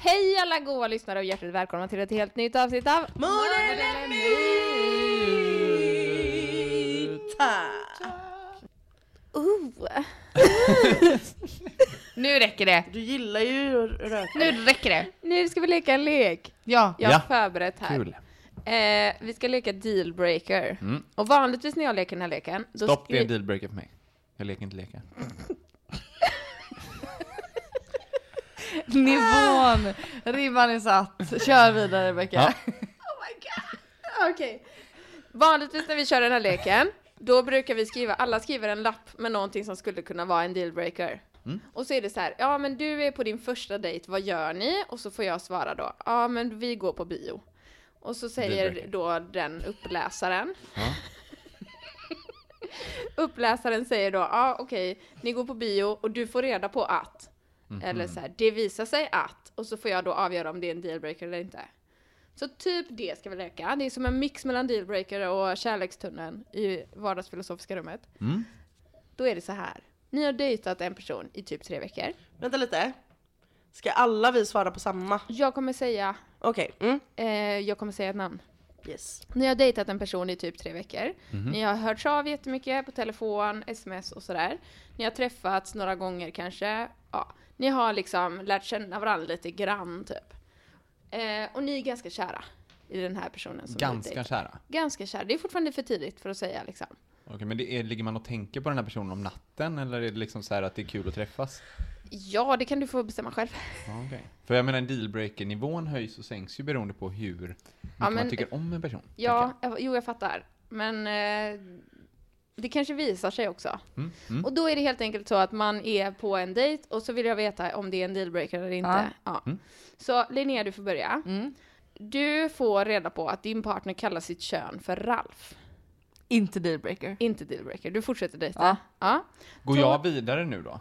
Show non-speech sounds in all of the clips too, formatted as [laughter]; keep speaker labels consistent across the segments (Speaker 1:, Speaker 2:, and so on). Speaker 1: Hej alla goa lyssnare och hjärtligt välkomna till ett helt nytt avsnitt av
Speaker 2: Morden är muta!
Speaker 1: Oh.
Speaker 3: Nu räcker det.
Speaker 2: Du gillar ju att röka.
Speaker 3: Nu räcker det.
Speaker 1: Nu ska vi leka en lek.
Speaker 3: Ja.
Speaker 1: Jag har
Speaker 4: Ja.
Speaker 1: förberett här.
Speaker 4: Kul. Mm.
Speaker 1: Eh, vi ska leka dealbreaker. Och vanligtvis när jag leker den här leken... Då
Speaker 4: Stopp, det är en
Speaker 1: skri-
Speaker 4: dealbreaker för mig. Jag leker inte leka.
Speaker 3: Nivån.
Speaker 1: Ah.
Speaker 3: Ribban är satt. Kör vidare Rebecka.
Speaker 1: Oh Okej. Vanligtvis när vi kör den här leken, då brukar vi skriva, alla skriver en lapp med någonting som skulle kunna vara en dealbreaker. Och så är det så här, ja men du är på din första dejt, vad gör ni? Och så får jag svara då, ja men vi går på bio. Och så säger
Speaker 4: Dealbreaker.
Speaker 1: då den uppläsaren. [laughs] uppläsaren säger då, ja okej, ni går på bio och du får reda på att. Eller så här, det visar sig att. Och så får jag då avgöra om det är en dealbreaker eller inte. Så typ det ska vi leka. Det är som en mix mellan dealbreaker och kärlekstunneln i vardagsfilosofiska rummet. Då är det så här. Ni har dejtat en person i typ tre veckor.
Speaker 2: Vänta lite. Ska alla vi svara på samma?
Speaker 1: Jag kommer säga,
Speaker 2: Okej. Mm.
Speaker 1: eh, jag kommer säga ett namn.
Speaker 2: Yes.
Speaker 1: Ni har dejtat en person i typ tre veckor. Ni har hörts av jättemycket på telefon, sms och sådär. Ni har träffats några gånger kanske. Ja. Ni har liksom lärt känna varandra lite grann typ. Eh, och ni är ganska kära i den här personen som ni
Speaker 4: Ganska
Speaker 1: dejtar.
Speaker 4: kära.
Speaker 1: Ganska kära. Det är fortfarande för tidigt för att säga liksom.
Speaker 4: Okej, men det är, ligger man och tänker på den här personen om natten eller är det liksom så här att det är kul att träffas?
Speaker 1: Ja, det kan du få bestämma själv.
Speaker 4: Ja, okej. För jag menar dealbreaker-nivån höjs och sänks ju beroende på hur mycket
Speaker 1: men-
Speaker 4: man tycker om en person. tänker
Speaker 1: Ja, jag, jo jag fattar. Men eh, det kanske visar sig också.
Speaker 3: Mm,
Speaker 1: Och då är det helt enkelt så att man är på en dejt och så vill jag veta om det är en dealbreaker eller inte. Ja.
Speaker 3: Mm.
Speaker 1: Så Linnea, du får börja. Du får reda på att din partner kallar sitt kön för Ralf.
Speaker 3: Inte dealbreaker.
Speaker 1: Inte dealbreaker. Du fortsätter dejta.
Speaker 3: Ja.
Speaker 1: Ja.
Speaker 4: jag. Går jag vidare nu då?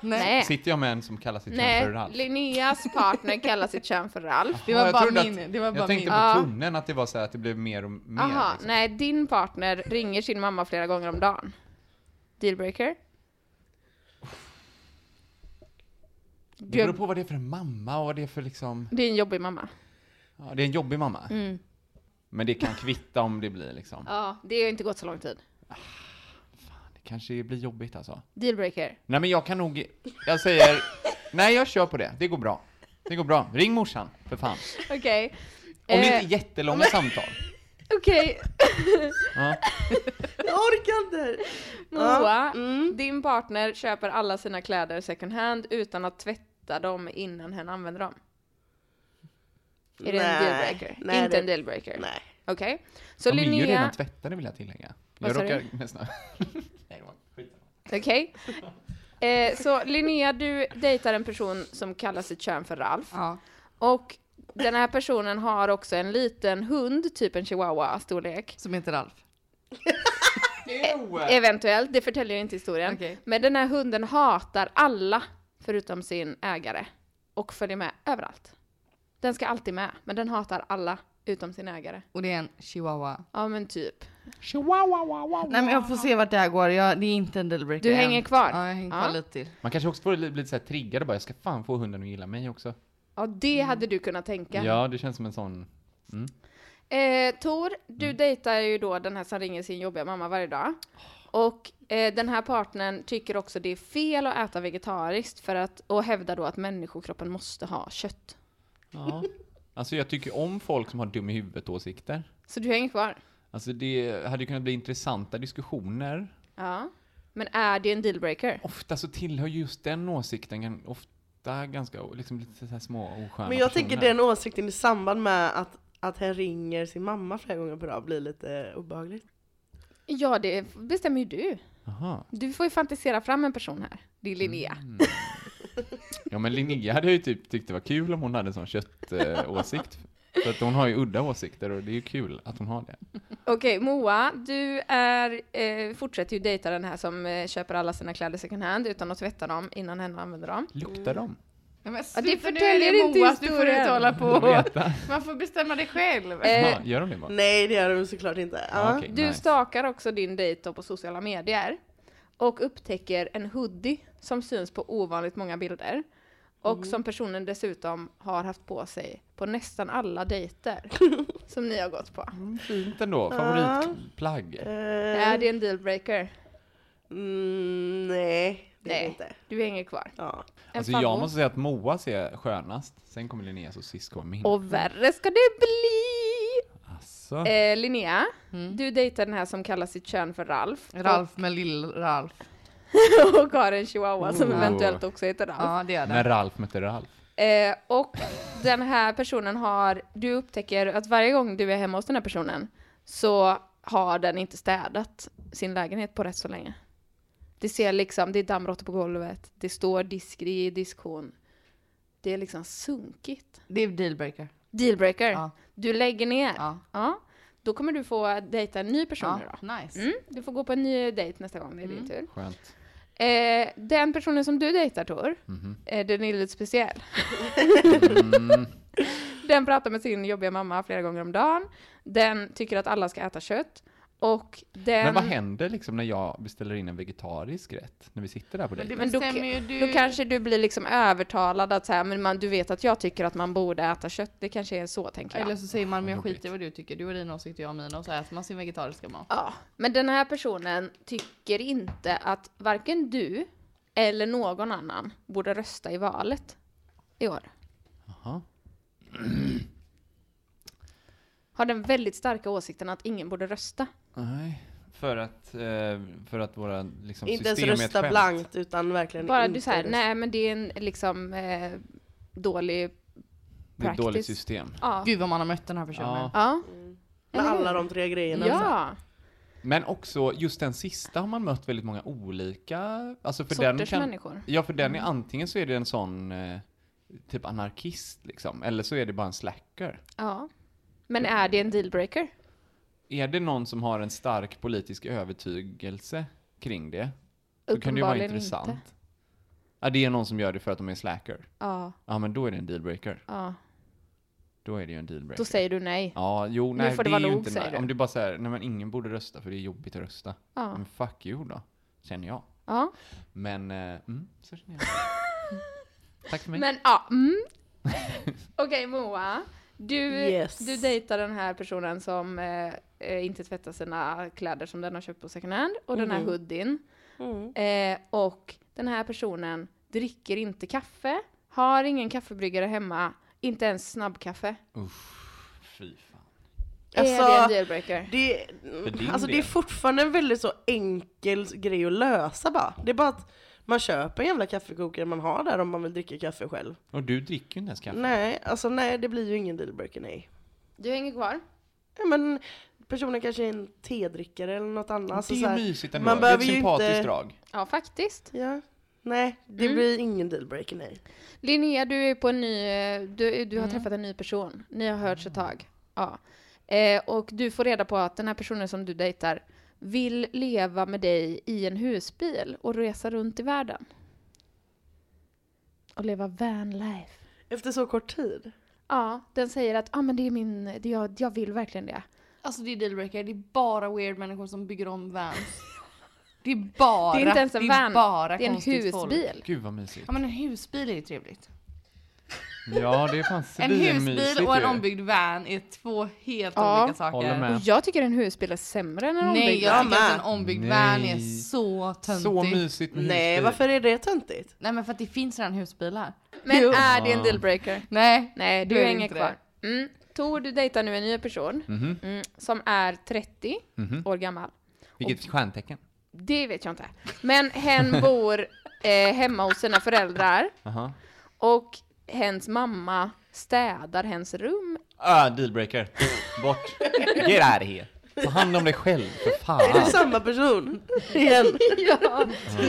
Speaker 1: Nej.
Speaker 4: Sitter jag med en som kallar sitt kön
Speaker 1: Nej,
Speaker 4: för Ralf?
Speaker 1: Linneas partner kallar sitt kön för Ralf.
Speaker 3: Det
Speaker 4: Ja,
Speaker 3: var
Speaker 4: jag
Speaker 3: bara
Speaker 4: trodde att-
Speaker 3: min. Det var bara
Speaker 4: Jag
Speaker 3: min.
Speaker 4: tänkte
Speaker 1: Ja.
Speaker 4: på tunneln, att det var så här att det blev mer och mer.
Speaker 1: Aha,
Speaker 4: liksom.
Speaker 1: nej, din partner ringer sin mamma flera gånger om dagen. Dealbreaker?
Speaker 4: Det beror på vad det är för en mamma och vad det är för liksom...
Speaker 1: Det är en jobbig mamma.
Speaker 4: Ja, det är en jobbig mamma. Men det kan kvitta om det blir liksom.
Speaker 1: Ja, det har inte gått så lång tid.
Speaker 4: Det kanske blir jobbigt alltså.
Speaker 1: Dealbreaker.
Speaker 4: Nej men jag kan nog, jag säger, nej jag kör på det, det går bra. Det går bra. Ring morsan, för fan.
Speaker 1: Okej.
Speaker 4: Om det
Speaker 1: Eh,
Speaker 4: inte är jättelånga samtal.
Speaker 1: Okej,
Speaker 4: Ja.
Speaker 2: Jag orkar inte!
Speaker 1: Moa.
Speaker 2: Mm.
Speaker 1: Din partner köper alla sina kläder second hand utan att tvätta dem innan hen använder dem. Är det en
Speaker 2: Nej.
Speaker 1: dealbreaker?
Speaker 2: Nej,
Speaker 1: inte
Speaker 2: det-
Speaker 1: en dealbreaker?
Speaker 2: Nej.
Speaker 1: Okej. Så
Speaker 4: De är ju redan
Speaker 1: Linnea...
Speaker 4: tvättade vill jag tillägga.
Speaker 1: Vad
Speaker 4: Jag
Speaker 1: sa du?
Speaker 4: råkar nästan... Nej, det var skitsamma.
Speaker 1: Okej. Eh, så Linnea, du dejtar en person som kallar sitt kön för Ralf.
Speaker 3: Ja.
Speaker 1: Och den här personen har också en liten hund, typ en chihuahua-storlek.
Speaker 3: Som heter Ralf.
Speaker 1: Eventuellt, det förtäljer ju inte historien.
Speaker 3: Okej.
Speaker 1: Men den här hunden hatar alla förutom sin ägare. Och följer med överallt. Den ska alltid med, men den hatar alla utom sin ägare.
Speaker 3: Och det är en chihuahua.
Speaker 1: Ja men typ.
Speaker 3: Nej men jag får se vart det här går. Jag, det är inte en dealbreaker
Speaker 1: Du hänger
Speaker 3: än.
Speaker 1: kvar?
Speaker 3: Ja, jag hänger kvar
Speaker 1: Ja.
Speaker 3: lite till.
Speaker 4: Man kanske också får bli så här triggad och bara, jag ska fan få hunden att gilla mig också.
Speaker 1: Ja det
Speaker 3: Mm.
Speaker 1: hade du kunnat tänka.
Speaker 4: Ja, det känns som en sån...
Speaker 1: Eh, Tor, du dejtar ju då den här som ringer sin jobbiga mamma varje dag. Och eh, den här partnern tycker också det är fel att äta vegetariskt för att, och hävdar då att människokroppen måste ha kött.
Speaker 4: Ja. Alltså jag tycker om folk som har dum i huvudet åsikter.
Speaker 1: Så du hänger kvar?
Speaker 4: Alltså det hade ju kunnat bli intressanta diskussioner.
Speaker 1: Ja. Men är det en dealbreaker?
Speaker 4: Ofta så tillhör just den åsikten gan- ofta ganska o- liksom lite så här små osköna
Speaker 2: Men jag
Speaker 4: personer.
Speaker 2: tänker den åsikten i samband med att, att han ringer sin mamma flera gånger per dag blir lite obehagligt.
Speaker 1: Ja, det bestämmer ju du.
Speaker 4: Aha.
Speaker 1: Du får ju fantisera fram en person här. Det är Linnea.
Speaker 4: Ja men Linnea hade jag ju typ tyckt det var kul om hon hade en sån köttåsikt. För att hon har ju udda åsikter och det är ju kul att hon har det.
Speaker 1: Okej, Moa, du är, eh, fortsätter ju dejta den här som eh, köper alla sina kläder second hand utan att tvätta dem innan hen använder dem.
Speaker 4: Luktar de?
Speaker 3: Nej, men
Speaker 1: Ja, det
Speaker 3: sluta, nu
Speaker 1: förtäljer
Speaker 3: är det
Speaker 1: inte
Speaker 3: Moa, Du får
Speaker 1: historien.
Speaker 3: inte hålla på.
Speaker 4: Vill veta?
Speaker 3: Man får bestämma det själv.
Speaker 4: Ja, gör de det bara?
Speaker 2: Nej det gör de såklart inte. Ja.
Speaker 4: Ah, okej,
Speaker 1: Du
Speaker 4: nice.
Speaker 1: stakar också din dejt då på sociala medier och upptäcker en hoodie som syns på ovanligt många bilder och
Speaker 2: Mm.
Speaker 1: som personen dessutom har haft på sig på nästan alla
Speaker 2: [laughs]
Speaker 1: dejter som ni har gått på.
Speaker 2: Mm.
Speaker 4: Fint ändå, favoritplagg.
Speaker 1: Är det en dealbreaker?
Speaker 2: Eh, Mm, nej, det är det
Speaker 1: Nej.
Speaker 2: inte.
Speaker 1: Du hänger kvar.
Speaker 2: Ja.
Speaker 1: En
Speaker 4: Alltså
Speaker 1: favvo.
Speaker 4: jag måste säga att Moa ser skönast, sen kommer Linnea så sist kommer min.
Speaker 1: Och värre ska det bli!
Speaker 4: Alltså,
Speaker 1: Eh, Linnea,
Speaker 2: Mm.
Speaker 1: du dejtar den här som kallar sitt kön för Ralf.
Speaker 3: Ralf med lill-Ralf.
Speaker 1: Och, [laughs] och har en chihuahua som
Speaker 4: Oh.
Speaker 1: eventuellt också heter Ralf.
Speaker 3: Ja, det är
Speaker 4: när
Speaker 3: det.
Speaker 4: Ralf mötte Ralf.
Speaker 1: Eh, och den här personen har, du upptäcker att varje gång du är hemma hos den här personen så har den inte städat sin lägenhet på rätt så länge. Det ser liksom, det är dammråttor på golvet, det står disk i diskhon. Det är liksom sunkigt.
Speaker 3: Det är dealbreaker.
Speaker 1: Dealbreaker.
Speaker 3: Ja.
Speaker 1: Du lägger ner.
Speaker 3: Ja.
Speaker 1: Ja. Då kommer du få dejta en ny person
Speaker 3: Ja, Mm.
Speaker 1: idag.
Speaker 3: nice.
Speaker 1: Mm, du får gå på en ny dejt nästa gång, det är din tur.
Speaker 4: Skönt.
Speaker 1: Eh, den personen som du dejtar Tor,
Speaker 4: Mhm.
Speaker 1: eh, den är lite speciell.
Speaker 4: Mm.
Speaker 1: [laughs] den pratar med sin jobbiga mamma flera gånger om dagen. Den tycker att alla ska äta kött. Och den...
Speaker 4: Men vad händer liksom när jag beställer in en vegetarisk rätt? När vi sitter där på dejten?
Speaker 1: Men då,
Speaker 3: Bestämmer ju du-
Speaker 1: då kanske du blir liksom övertalad att så här, men man, du vet att jag tycker att man borde äta kött. Det kanske är så, tänker jag.
Speaker 3: Eller så säger man, men jag
Speaker 4: jobbigt.
Speaker 3: skiter i vad du tycker. Du har din åsikt och jag har min och så äter man sin vegetariska mat.
Speaker 1: Ja, men den här personen tycker inte att varken du eller någon annan borde rösta i valet i år.
Speaker 4: Jaha.
Speaker 1: [clears throat] Har den väldigt starka åsikten att ingen borde rösta.
Speaker 4: Nej. För att, eh, för att våra liksom,
Speaker 2: Inte ens
Speaker 4: system är ett
Speaker 2: rösta
Speaker 4: skämt.
Speaker 2: blankt utan verkligen
Speaker 1: Bara
Speaker 2: inte
Speaker 1: du säger
Speaker 2: rösta.
Speaker 1: nej men det är en liksom eh, dålig
Speaker 4: Det är ett dåligt
Speaker 1: practice."
Speaker 4: system.
Speaker 1: Ja.
Speaker 3: Gud vad man har mött den här personen.
Speaker 4: Ja.
Speaker 1: Ja.
Speaker 2: Med Mm. alla de tre grejerna.
Speaker 1: ja.
Speaker 4: Men också, just den sista har man mött väldigt många olika... Alltså för den
Speaker 1: Sorters
Speaker 4: kan,
Speaker 1: människor. Mm.
Speaker 4: Ja, för den är antingen så är det en sån eh, typ anarkist liksom, eller så är det bara en slacker.
Speaker 1: Ja. Men är det en dealbreaker?
Speaker 4: Är det någon som har en stark politisk övertygelse kring det, så kan det ju vara
Speaker 1: Uppenbarligen
Speaker 4: intressant.
Speaker 1: inte.
Speaker 4: Ja, det är någon som gör det för att de är slacker.
Speaker 1: Ja.
Speaker 4: Ja, men då är det en dealbreaker.
Speaker 1: ja.
Speaker 4: Då är det ju en dealbreaker.
Speaker 1: Då säger du nej.
Speaker 4: Ja, jo, nej,
Speaker 1: får det
Speaker 4: det,
Speaker 1: vara
Speaker 4: är ju
Speaker 1: nog,
Speaker 4: inte
Speaker 1: säger
Speaker 4: nej.
Speaker 1: du.
Speaker 4: Om du bara säger, nej men ingen borde rösta för det är jobbigt att rösta.
Speaker 1: Ja.
Speaker 4: Men fuck you då, känner jag.
Speaker 1: ja.
Speaker 4: Men, eh, mm, så känner jag. [laughs] Tack för mig.
Speaker 1: Men ja, mm. Okej Moa, du,
Speaker 2: Yes.
Speaker 1: du dejtar den här personen som eh, eh, inte tvättar sina kläder som den har köpt på second hand och den här
Speaker 2: Mm.
Speaker 1: hoodien. Eh, och den här personen dricker inte kaffe, har ingen kaffebryggare hemma, inte ens snabbkaffe.
Speaker 4: Fy fan.
Speaker 2: Alltså,
Speaker 1: är det en dealbreaker?
Speaker 2: Det,
Speaker 4: din
Speaker 2: alltså det är
Speaker 4: del.
Speaker 2: fortfarande en väldigt så enkel grej att lösa bara. Det är bara att man köper en jävla kaffekokare man har där om man vill dricka kaffe själv.
Speaker 4: Och du dricker ju inte ens kaffe.
Speaker 2: Nej, alltså nej det blir ju ingen dealbreaker nej.
Speaker 1: Du hänger kvar.
Speaker 2: Ja, men personen kanske är en tedrickare eller något annat. Alltså,
Speaker 4: det
Speaker 2: så
Speaker 4: är
Speaker 2: här,
Speaker 4: ju mysigt ändå.
Speaker 2: man
Speaker 4: det är ett
Speaker 2: behöver ju
Speaker 4: sympatiskt
Speaker 2: inte-
Speaker 4: drag.
Speaker 1: Ja, faktiskt.
Speaker 2: Ja, nej det
Speaker 4: Mm.
Speaker 2: blir ingen dealbreaker nej.
Speaker 1: Linnea, du är på en ny, eh, du, du har
Speaker 3: Mm.
Speaker 1: träffat en ny person. Ni har hörts ett tag. Ja. Eh, och du får reda på att den här personen som du dejtar vill leva med dig i en husbil och resa runt i världen. Och leva vanlife.
Speaker 2: Efter så kort tid.
Speaker 4: Mm,
Speaker 1: Ja, den säger att ah, men det är min, det, jag, jag vill verkligen det.
Speaker 3: Alltså det är dealbreaker. Det är bara weird människor som bygger om [laughs] vans. Det är bara,
Speaker 1: det är inte ens en
Speaker 3: det är
Speaker 1: van,
Speaker 3: bara
Speaker 1: det är en
Speaker 3: konstigt
Speaker 1: husbil.
Speaker 3: folk.
Speaker 4: Gud vad mysigt.
Speaker 3: Ja men en husbil är ju trevligt.
Speaker 4: Ja, det är
Speaker 2: [laughs]
Speaker 4: fan
Speaker 3: En husbil och en ombyggd van är två helt
Speaker 1: Ja.
Speaker 3: olika saker.
Speaker 4: Håller med.
Speaker 1: Och jag tycker en husbil är sämre än en
Speaker 3: Nej,
Speaker 1: ombyggd.
Speaker 3: jag
Speaker 2: Jag
Speaker 3: tycker att en
Speaker 2: med.
Speaker 3: ombyggd
Speaker 4: Nej.
Speaker 3: van är så töntig.
Speaker 4: Så mysigt med
Speaker 2: Nej
Speaker 4: husbil.
Speaker 2: varför är det töntigt?
Speaker 3: Nej men för att det finns redan husbilar.
Speaker 1: Men är det en dealbreaker?
Speaker 3: Nej,
Speaker 1: Nej, du
Speaker 3: det är
Speaker 1: hänger
Speaker 3: inte det.
Speaker 1: kvar. Mm. Tor, du dejtar nu en ny person
Speaker 4: Mhm.
Speaker 1: mm, som är 30
Speaker 4: Mhm.
Speaker 1: år gammal.
Speaker 4: Vilket stjärntecken.
Speaker 1: Det vet jag inte. Men
Speaker 4: [laughs]
Speaker 1: hen bor eh, hemma hos sina föräldrar
Speaker 4: Aha.
Speaker 1: och hens mamma städar hens rum.
Speaker 4: Ah, dealbreaker.
Speaker 2: [laughs]
Speaker 4: Bort. Get out of here. Ta hand om dig själv, för
Speaker 2: Är det
Speaker 4: fan.
Speaker 2: samma person? [laughs] Igen.
Speaker 1: ja,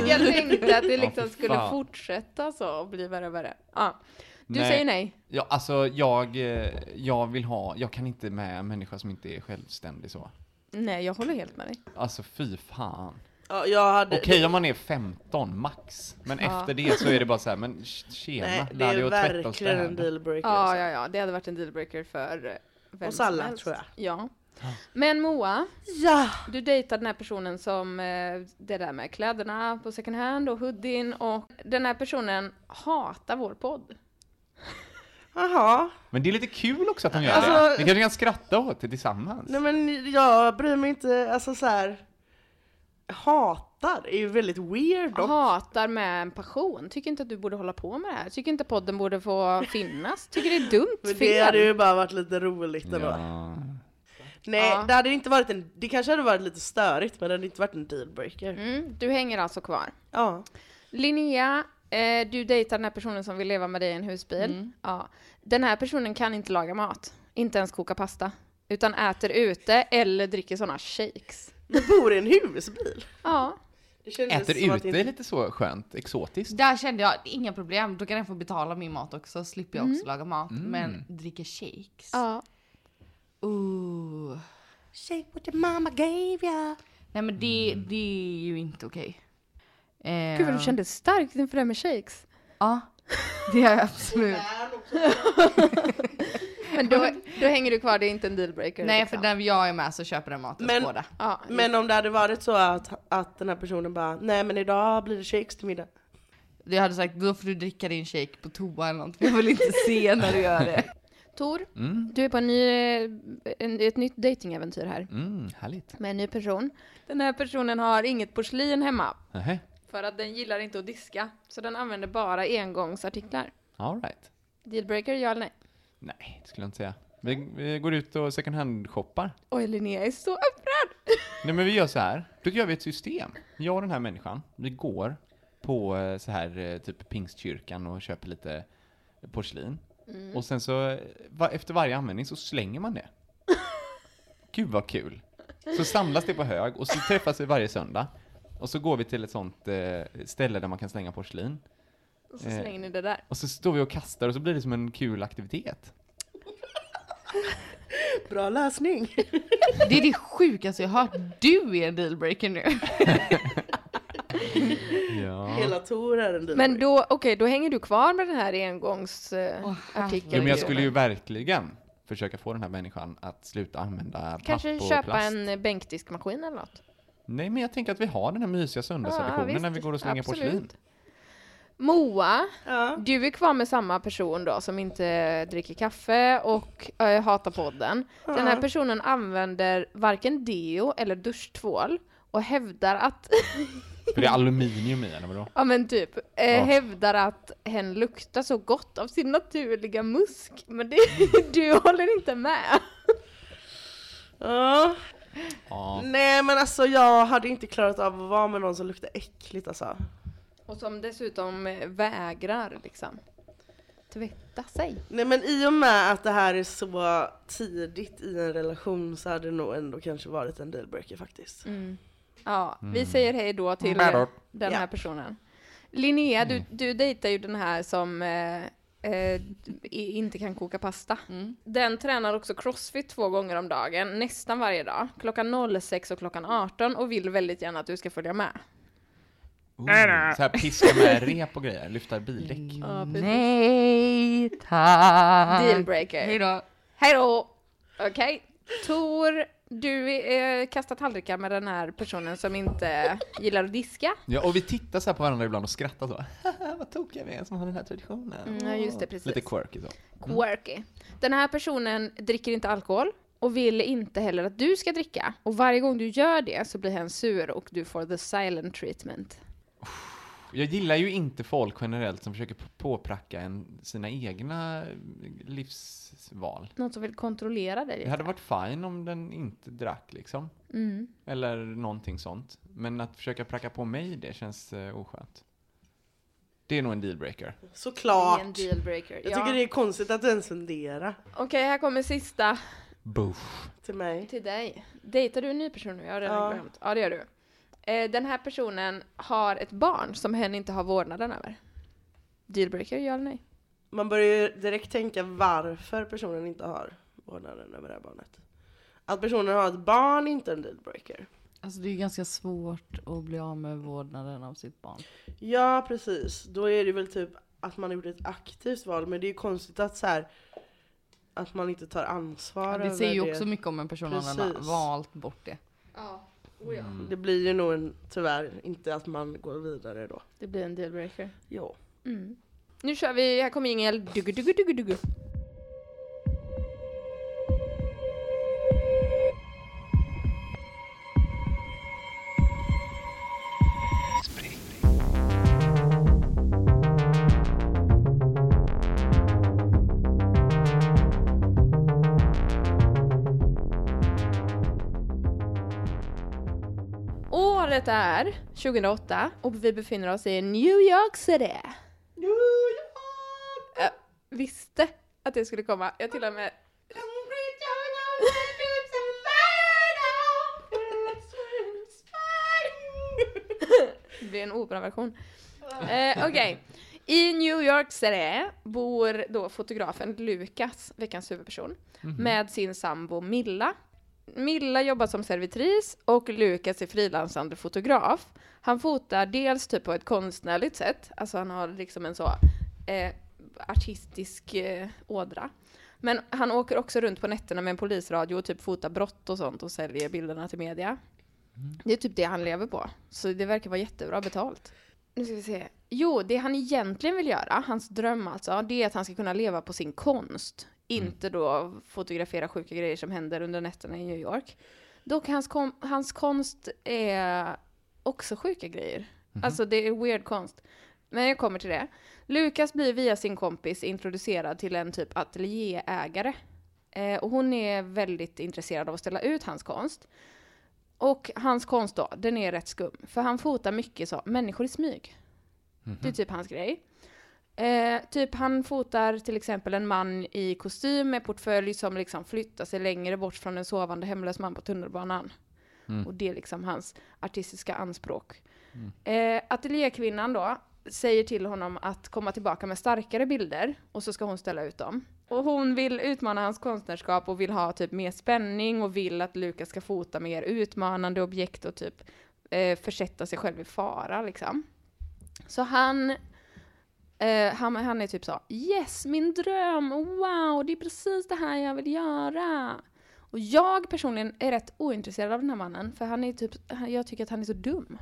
Speaker 1: jag tänkte att det liksom
Speaker 4: Mm. Ja, fy
Speaker 1: skulle
Speaker 4: fan.
Speaker 1: fortsätta så och bli värre och värre. Ja. Du
Speaker 4: Nej.
Speaker 1: säger nej.
Speaker 4: Ja, alltså jag, eh, jag vill ha, jag kan inte med en människa som inte är självständig så.
Speaker 1: Nej, jag håller helt med dig.
Speaker 4: Alltså fy fan.
Speaker 2: Ja, jag hade...
Speaker 4: Okej om man är 15 max, men efter det så är det bara så här, men sh- tjena,
Speaker 2: Nej, det
Speaker 4: lär dig
Speaker 2: är
Speaker 4: att tvätta och
Speaker 2: verkligen en
Speaker 4: städa.
Speaker 2: dealbreaker.
Speaker 1: Ja,
Speaker 2: alltså.
Speaker 1: ja, ja, det hade varit en dealbreaker för eh, vem
Speaker 2: Oss
Speaker 1: som
Speaker 2: alla,
Speaker 1: helst.
Speaker 2: tror jag.
Speaker 1: Ja.
Speaker 4: Ah.
Speaker 1: Men Moa,
Speaker 2: ja.
Speaker 1: du dejtar den här personen som, eh, det där med kläderna på second hand och hoodien och den här personen hatar vår podd.
Speaker 2: Jaha.
Speaker 4: Men det är lite kul också att de gör det.
Speaker 2: Alltså-
Speaker 4: Ni kanske kan skratta åt det tillsammans.
Speaker 2: Nej men jag bryr mig inte, alltså så här. Hatar är ju väldigt weird dock.
Speaker 1: Hatar med en passion. Tycker inte att du borde hålla på med det här. Tycker inte podden borde få [laughs] finnas. Tycker det är dumt,
Speaker 2: Men det hade
Speaker 1: fel.
Speaker 2: ju bara varit lite roligt ändå.
Speaker 4: ja.
Speaker 2: Nej,
Speaker 1: Ja.
Speaker 2: det hade inte varit en, det kanske hade varit lite störigt men det hade inte varit en dealbreaker.
Speaker 1: Mm, du hänger alltså kvar.
Speaker 2: Ja.
Speaker 1: Linnea, eh, du dejtar den här personen som vill leva med dig i en husbil.
Speaker 2: Mm.
Speaker 1: Ja. Den här personen kan inte laga mat, inte ens koka pasta, utan äter ute eller dricker sådana shakes.
Speaker 2: Men bor i en husbil.
Speaker 1: Ja,
Speaker 2: Det kändes
Speaker 4: Äter
Speaker 2: som att
Speaker 4: ute
Speaker 2: inte-
Speaker 4: är lite så skönt, exotiskt.
Speaker 3: Där kände jag, inga problem, då kan den få betala min mat också, slipper jag också laga mat.
Speaker 4: Mm.
Speaker 3: Men dricker shakes.
Speaker 1: Mm. ja.
Speaker 3: Ooh.
Speaker 2: Shake what the mama gave ya.
Speaker 3: Nej men det,
Speaker 4: Mm.
Speaker 3: det är ju inte okej. Eh,
Speaker 1: Gud vad du kände starkt inför det här med shakes.
Speaker 3: Ja, det
Speaker 1: [laughs]
Speaker 3: är jag absolut.
Speaker 1: Men [laughs] då, då hänger du kvar, det är inte en dealbreaker.
Speaker 3: Nej för
Speaker 1: liksom.
Speaker 3: när jag är med så köper den maten
Speaker 2: Men-
Speaker 3: båda.
Speaker 1: ja.
Speaker 2: Men om det hade varit så att, att den här personen bara, nej men idag blir det shakes till middag.
Speaker 3: Jag hade sagt då får du dricka din shake på toa eller något för jag vill inte se när du gör det.
Speaker 1: Tor, du är på en ny, eh, en, ett nytt datingaventyr här
Speaker 4: Mm, härligt.
Speaker 1: med en ny person. Den här personen har inget porslin hemma
Speaker 4: Nähä,
Speaker 1: för att den gillar inte att diska, så den använder bara engångsartiklar.
Speaker 4: all right.
Speaker 1: Dealbreaker, ja eller nej?
Speaker 4: Nej, det skulle jag inte säga. Vi, vi går ut och second hand-shoppar.
Speaker 1: Oj, Linnea är så upprörd!
Speaker 4: Nej men vi gör så här. Då gör vi ett system. Jag och den här människan, vi går på eh, så här eh, typ pingstkyrkan och köper lite porslin.
Speaker 1: Mm.
Speaker 4: Och sen så, eh, va, efter varje användning så slänger
Speaker 1: [laughs]
Speaker 4: man det. Gud vad kul! Så samlas det på hög och så träffas vi varje söndag. Och så går vi till ett sånt eh, ställe där man kan slänga porslin.
Speaker 1: Och
Speaker 4: Eh.
Speaker 1: så slänger ni det där.
Speaker 4: Och så står vi och kastar och så blir det som en kul aktivitet.
Speaker 2: Bra lösning.
Speaker 3: Det är det sjukaste jag har hört. Du är en dealbreaker nu.
Speaker 4: Ja.
Speaker 2: [laughs] Hela Tor är en dealbreaker.
Speaker 1: Men då, okej, då hänger du kvar med den här
Speaker 3: Åh,
Speaker 1: engångsartikeln.
Speaker 4: Jo, men jag
Speaker 3: herregud.
Speaker 4: skulle ju verkligen försöka få den här människan att sluta använda
Speaker 1: Kanske
Speaker 4: papp och
Speaker 1: köpa
Speaker 4: plast.
Speaker 1: en bänkdiskmaskin eller något.
Speaker 4: Nej, men jag tänker att vi har den här mysiga söndagstraditionen
Speaker 1: Ah, visst.
Speaker 4: när vi går och slänger
Speaker 1: Absolut.
Speaker 4: porslin.
Speaker 1: Moa,
Speaker 2: Ja.
Speaker 1: du är kvar med samma person då som inte dricker kaffe och eh, hatar podden. Den här personen använder varken deo eller duschtvål och hävdar att, [laughs]
Speaker 4: För det är aluminium i den, eller vadå?
Speaker 1: ja men typ, eh,
Speaker 4: Ja.
Speaker 1: hävdar att hen luktar så gott av sin naturliga musk. Men det, [laughs] du håller inte med.
Speaker 2: Ja.
Speaker 4: Ja.
Speaker 2: Nej men alltså jag hade inte klarat av att vara med någon som luktar äckligt alltså.
Speaker 1: Och som dessutom eh, vägrar liksom tvätta sig.
Speaker 2: Nej men i och med att det här är så tidigt i en relation så hade det nog ändå kanske varit en dealbreaker faktiskt.
Speaker 1: Ja, vi säger hej då till
Speaker 4: Hej då.
Speaker 1: den här
Speaker 2: Ja.
Speaker 1: personen. Linnea, du, du dejtar ju den här som eh, eh, i- inte kan koka pasta. Den tränar också crossfit två gånger om dagen, nästan varje dag. Klockan 06 och klockan 18 och vill väldigt gärna att du ska följa med.
Speaker 4: Oh, så här piska med rep och grejer, lyfta bildäck.
Speaker 1: Mm.
Speaker 3: Nej tack.
Speaker 1: Dealbreaker.
Speaker 3: Hej då.
Speaker 1: Hej då! Okej. Tor, du eh, kastar tallrikar med den här personen som inte gillar att diska.
Speaker 4: Ja, och vi tittar så här på varandra ibland och skrattar så. Haha, vad tokiga vi är som har den här traditionen.
Speaker 1: Mm, Ja, just det, precis.
Speaker 4: Lite quirky så.
Speaker 2: Mm.
Speaker 1: Quirky. Den här personen dricker inte alkohol och vill inte heller att du ska dricka. Och varje gång du gör det så blir han sur och du får the silent treatment.
Speaker 4: Jag gillar ju inte folk generellt som försöker p- påpracka en sina egna livsval.
Speaker 1: Någon som vill kontrollera dig
Speaker 4: Det
Speaker 1: lite.
Speaker 4: hade varit fine om den inte drack liksom.
Speaker 1: Mm.
Speaker 4: Eller någonting sånt. Men att försöka pracka på mig det känns eh, oskönt. Det är nog en dealbreaker.
Speaker 2: Såklart.
Speaker 1: Det är en dealbreaker.
Speaker 2: Jag
Speaker 1: ja.
Speaker 2: tycker det är konstigt att du ens funderar
Speaker 1: Okej, här kommer sista
Speaker 4: Boof.
Speaker 2: till mig.
Speaker 1: till dig. Dejtar du en ny person nu? Jag har redan
Speaker 2: Ja.
Speaker 1: glömt. Ja, det gör du. Eh, den här personen har ett barn som hen inte har vårdnaden över. Dealbreaker, ja eller nej?
Speaker 2: Man börjar ju direkt tänka varför personen inte har vårdnaden över det här barnet. Att personen har ett barn är inte en dealbreaker.
Speaker 3: Alltså det är ju ganska svårt att bli av med vårdnaden av sitt barn.
Speaker 2: Ja precis, då är det väl typ att man har gjort ett aktivt val men det är ju konstigt att så här att man inte tar ansvar
Speaker 3: det säger ju
Speaker 2: över
Speaker 3: också mycket om en person om den har
Speaker 2: Precis.
Speaker 3: valt bort det.
Speaker 1: Ja. Oh, ja.
Speaker 2: Det blir ju nog en, tyvärr inte att man går vidare då.
Speaker 1: Det blir en dealbreaker.
Speaker 2: Jo.
Speaker 1: Nu kör vi, här kommer Ingel. Dugu, dugu, dugu, dugu. Året är 2008 och vi befinner oss i New York City. Jag visste att det skulle komma. Jag till och med... Det blir en operaversion. Eh, Okej. I New York City bor då fotografen Lukas, veckans huvudperson, med sin sambo Milla. Milla jobbar som servitris och Lukas är frilansande fotograf. Han fotar dels typ på ett konstnärligt sätt, alltså han har liksom en så eh, artistisk eh, ådra. Men han åker också runt på nätterna med en polisradio och typ fotar brott och sånt och säljer bilderna till media. Det är typ det han lever på. Så det verkar vara jättebra betalt. Nu ska vi se. Jo, det han egentligen vill göra, hans dröm alltså, det är att han ska kunna leva på sin konst. Inte då fotografera sjuka grejer som händer under nätterna i New York. Dock, hans, kom- hans konst är också sjuka grejer. Alltså det är weird konst. Men jag kommer till det. Lukas blir via sin kompis introducerad till en typ ateljéägare. Eh, och hon är väldigt intresserad av att ställa ut hans konst. Och hans konst då, den är rätt skum. För han fotar mycket så, människor i smyg. Det är typ hans grej. Eh, typ han fotar till exempel en man i kostym med portfölj som liksom flyttar sig längre bort från en sovande hemlös man på tunnelbanan. Och det är liksom hans artistiska anspråk. Eh, ateljékvinnan då säger till honom att komma tillbaka med starkare bilder och så ska hon ställa ut dem. Och hon vill utmana hans konstnärskap och vill ha typ mer spänning och vill att Lukas ska fota mer utmanande objekt och typ eh, försätta sig själv i fara liksom. Så han, eh, han, han är typ så Yes, min dröm! Wow, det är precis det här jag vill göra! Och jag personligen är rätt ointresserad av den här mannen för han är typ, jag tycker att han är så dum.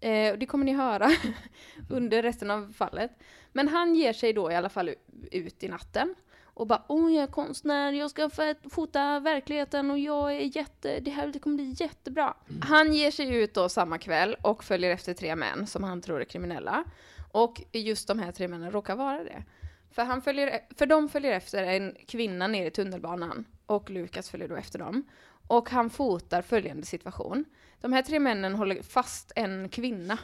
Speaker 1: Eh, och det kommer ni höra [laughs] under resten av fallet. Men han ger sig då i alla fall ut i natten. Och bara åh jag är konstnär, jag ska fot- fota verkligheten och jag är jätte, det här det kommer bli jättebra. Han ger sig ut då samma kväll och följer efter tre män som han tror är kriminella. Och just de här tre männen råkar vara det. För, han följer, e- för de följer efter en kvinna ner i tunnelbanan och Lukas följer då efter dem. Och han fotar följande situation. De här tre männen håller fast en kvinna.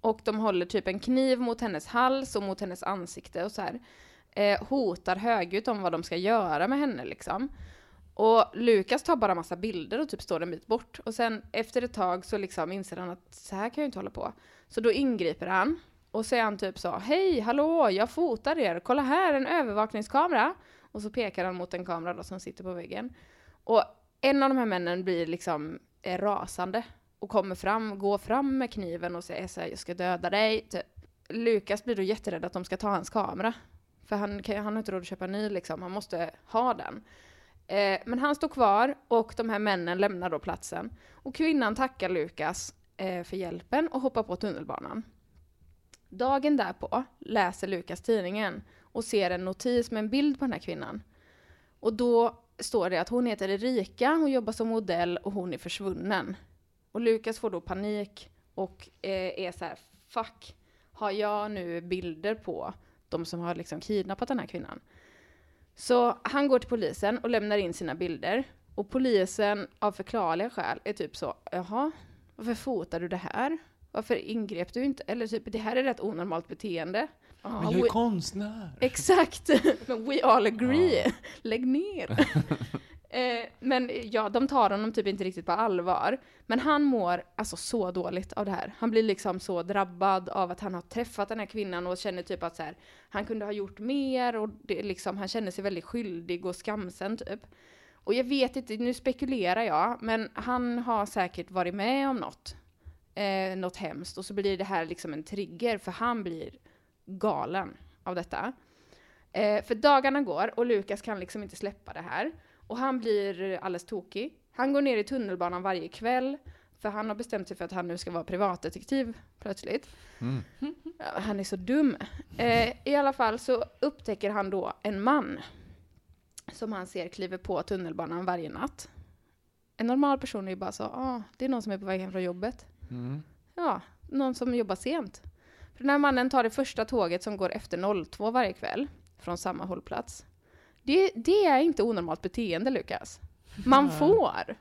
Speaker 1: Och de håller typ en kniv mot hennes hals och mot hennes ansikte och så här. Eh, hotar högljutt om vad de ska göra med henne liksom. Och Lukas tar bara massa bilder och typ står en bit bort. Och sen efter ett tag så liksom inser han att så här kan jag ju inte hålla på. Så då ingriper han. Och så är han typ så, hej, hallå, jag fotar er, kolla här, en övervakningskamera. Och så pekar han mot en kamera då som sitter på väggen. Och en av de här männen blir liksom eh, rasande och kommer fram, går fram med kniven och säger så här, jag ska döda dig. Typ. Lukas blir då jätterädd att de ska ta hans kamera. För han, kan, han har inte råd att köpa en ny liksom, han måste ha den. Eh, men han står kvar och de här männen lämnar då platsen. Och kvinnan tackar Lukas eh, för hjälpen och hoppar på tunnelbanan. Dagen därpå läser Lukas tidningen och ser en notis med en bild på den här kvinnan. Och då står det att hon heter Erika, hon jobbar som modell och hon är försvunnen. Och Lukas får då panik och eh, är så här, fuck, har jag nu bilder på de som har liksom kidnappat den här kvinnan. Så han går till polisen och lämnar in sina bilder. Och polisen, av förklarliga skäl, är typ så, jaha, varför fotar du det här? Varför ingrep du inte? Eller typ, det här är rätt onormalt beteende. Ja,
Speaker 4: Men jag är
Speaker 1: we-
Speaker 4: konstnär!
Speaker 1: Eh. Exakt! [laughs] Men we all agree. [laughs] Lägg ner. eh, men ja, de tar honom typ inte riktigt på allvar. Men han mår alltså så dåligt av det här. Han blir liksom så drabbad av att han har träffat den här kvinnan och känner typ att så här, han kunde ha gjort mer och det, är liksom, han känner sig väldigt skyldig och skamsen typ. Och jag vet inte, nu spekulerar jag, men han har säkert varit med om något. Eh, något hemskt och så blir det här liksom en trigger för han blir galen av detta. Eh, för dagarna går och Lukas kan liksom inte släppa det här. Och han blir alldeles tokig. Han går ner i tunnelbanan varje kväll. För han har bestämt sig för att han nu ska vara privatdetektiv plötsligt. Ja, Han är så dum. Eh, I alla fall så upptäcker han då en man. Som han ser kliver på tunnelbanan varje natt. En normal person är ju bara så, ah, det är någon som är på väg hem från jobbet.
Speaker 4: Mm.
Speaker 1: Ja, någon som jobbar sent. För den här mannen tar det första tåget som går efter 02 varje kväll från samma hållplats. Det, det är inte onormalt beteende, Lukas. Man får.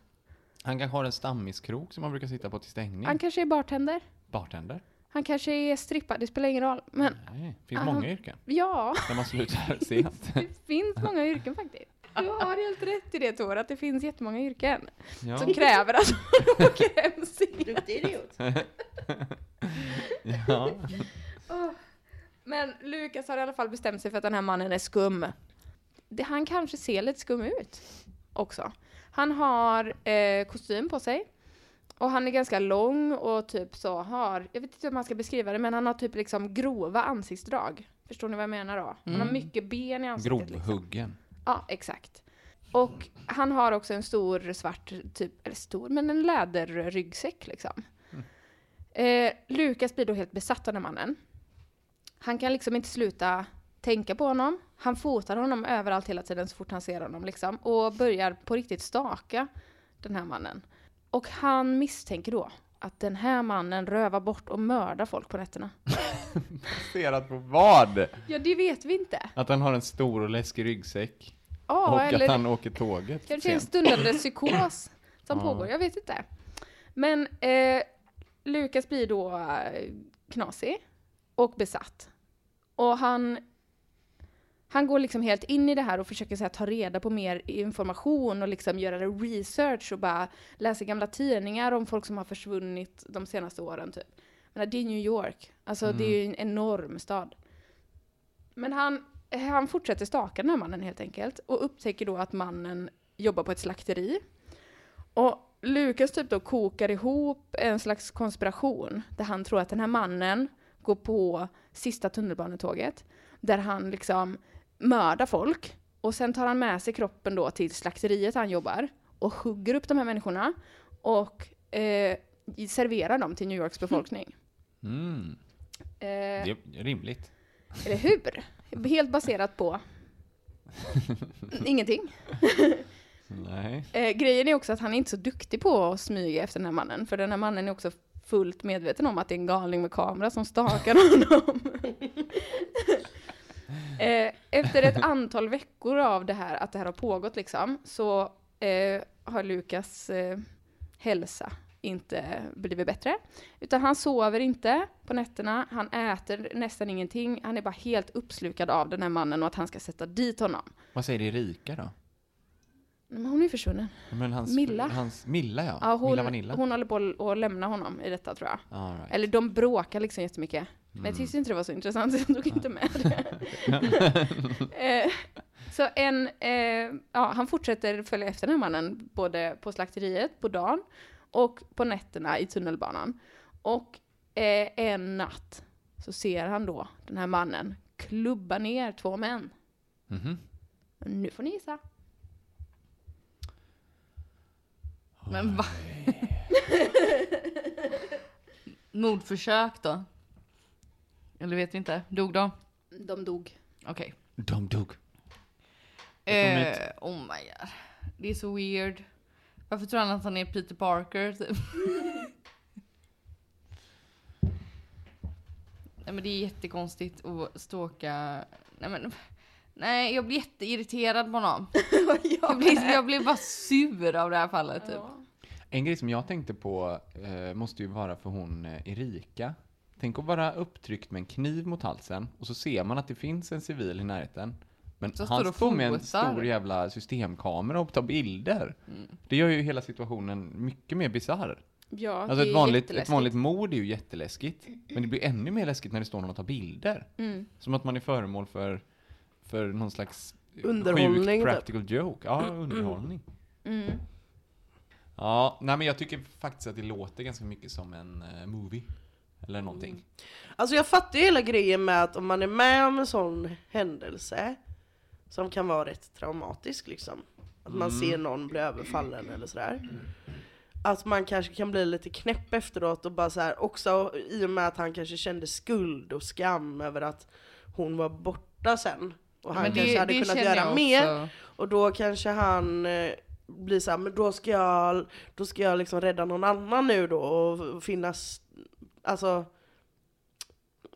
Speaker 4: Han kanske har en stammiskrok som han brukar sitta på till stängning.
Speaker 1: Han kanske är bartender.
Speaker 4: Bartender?
Speaker 1: Han kanske är strippa. Det spelar ingen roll. Men
Speaker 4: Nej, det finns
Speaker 1: Ah.
Speaker 4: många yrken
Speaker 1: ja,
Speaker 4: där
Speaker 1: [laughs]
Speaker 4: man slutar sent.
Speaker 1: det finns många yrken faktiskt. Du har helt rätt i det Tor, att det finns jättemånga yrken
Speaker 4: Ja.
Speaker 1: som kräver att man
Speaker 4: [laughs]
Speaker 1: åker hem sent.
Speaker 2: Duktig idiot.
Speaker 4: Ja.
Speaker 1: Men Lukas har i alla fall bestämt sig för att den här mannen är skum. Det, han kanske ser lite skum ut också. Han har eh, kostym på sig. Och han är ganska lång och typ så har, jag vet inte hur man ska beskriva det, men han har typ liksom grova ansiktsdrag. Förstår ni vad jag menar då? Han
Speaker 4: Mm.
Speaker 1: har mycket ben i ansiktet. liksom.
Speaker 4: Grovhuggen.
Speaker 1: Ja, exakt. Och han har också en stor svart, typ, eller stor, men en läderryggsäck liksom. Eh, Lukas blir då helt besatt av den här mannen. Han kan liksom inte sluta tänka på honom. Han fotar honom överallt hela tiden så fort han ser honom liksom. Och börjar på riktigt staka den här mannen. Och han misstänker då att den här mannen rövar bort och mördar folk på nätterna.
Speaker 4: Baserat på vad?
Speaker 1: Ja, det vet vi inte.
Speaker 4: Att han har en stor och läskig ryggsäck.
Speaker 1: Ja,
Speaker 4: och
Speaker 1: eller...
Speaker 4: att han åker tåget
Speaker 1: Kanske en
Speaker 4: sent.
Speaker 1: stundande psykos som pågår, jag vet inte. Men eh, Lukas blir då eh, knasig och besatt. Och han, han går liksom helt in i det här och försöker så här, ta reda på mer information och liksom göra research och bara läsa gamla tidningar om folk som har försvunnit de senaste åren typ. Men det är New York, alltså det är ju en enorm stad. Men han, han fortsätter staka den här mannen helt enkelt och upptäcker då att mannen jobbar på ett slakteri. Och Lukas typ då kokar ihop en slags konspiration där han tror att den här mannen går på sista tunnelbanetåget där han liksom mördar folk och sen tar han med sig kroppen då till slakteriet han jobbar och hugger upp de här människorna och eh, serverar dem till New Yorks befolkning.
Speaker 4: Mm,
Speaker 1: Eh,
Speaker 4: det är rimligt.
Speaker 1: eller hur? Helt baserat på ingenting.
Speaker 4: Nej.
Speaker 1: Eh, grejen är också att han är inte så duktig på att smyga efter den här mannen, för den här mannen är också fullt medveten om att det är en galning med kamera som stakar honom. [laughs] eh, efter ett antal veckor av det här, att det här har pågått liksom, så eh, har Lukas eh, hälsa inte blivit bättre. Utan han sover inte på nätterna, han äter nästan ingenting, han är bara helt uppslukad av den här mannen och att han ska sätta dit honom.
Speaker 4: Vad säger Erika då?
Speaker 1: Men hon är ju försvunnen.
Speaker 4: Men hans,
Speaker 1: Milla.
Speaker 4: Hans, Milla ja.
Speaker 1: Ja,
Speaker 4: Milla
Speaker 1: hon,
Speaker 4: Vanilla.
Speaker 1: hon håller på att lämna honom i detta tror jag.
Speaker 4: All right.
Speaker 1: Eller de bråkar liksom jättemycket. Men jag
Speaker 4: Mm.
Speaker 1: tyckte inte det var så intressant, så jag tog inte med det. [laughs] Eh,
Speaker 4: [laughs]
Speaker 1: så en, eh, ja, han fortsätter följa efter den här mannen, både på slakteriet på dagen och på nätterna i tunnelbanan. Och eh, en natt så ser han då den här mannen klubba ner två män.
Speaker 4: Mhm.
Speaker 1: Nu får ni gissa.
Speaker 3: Men va? [laughs] Mordförsök då? Eller vet vi inte. Dog de?
Speaker 1: De dog.
Speaker 3: Okej.
Speaker 4: De dog.
Speaker 3: Eh, oh my god. Det är så weird. Varför tror han att han är Peter Parker? Typ? [laughs] Nej men det är jättekonstigt att ståka... Nej men... Nej, jag blir jätteirriterad på honom. jag, blir, jag blir bara sur av det här fallet typ.
Speaker 4: En grej som jag tänkte på eh, måste ju vara för hon eh, Erika. Tänk att vara upptryckt med en kniv mot halsen och så ser man att det finns en civil i närheten. Men
Speaker 3: Så står
Speaker 4: han
Speaker 3: och
Speaker 4: står med en
Speaker 3: fotar.
Speaker 4: stor jävla systemkamera och tar bilder. Det gör ju hela situationen mycket mer bisarr.
Speaker 1: Ja,
Speaker 4: Alltså
Speaker 1: det är
Speaker 4: ett vanligt, ett
Speaker 1: jätteläskigt.
Speaker 4: vanligt mord är ju jätteläskigt. Men det blir ännu mer läskigt när det står någon och tar bilder.
Speaker 1: Mm.
Speaker 4: Som att man är föremål för, för någon slags
Speaker 2: Underhållning,
Speaker 4: sjuk
Speaker 2: typ. Mm.
Speaker 4: practical joke. Ja, underhållning.
Speaker 1: Mm.
Speaker 4: Ja, nej men jag tycker faktiskt att det låter ganska mycket som en eh, movie. Eller någonting.
Speaker 1: Mm.
Speaker 2: Alltså jag fattar ju hela grejen med att om man är med om en sån händelse som kan vara rätt traumatisk liksom. Att man
Speaker 3: Mm.
Speaker 2: ser någon bli överfallen eller sådär. Att man kanske kan bli lite knäpp efteråt och bara så här, också i och med att han kanske kände skuld och skam över att hon var borta sen. Och han
Speaker 3: Men det-
Speaker 2: kanske hade
Speaker 3: det
Speaker 2: kunnat göra
Speaker 3: känner jag
Speaker 2: mer.
Speaker 3: också.
Speaker 2: Och då kanske han eh, blir såhär, men då ska jag, då ska jag liksom rädda någon annan nu då och finnas, alltså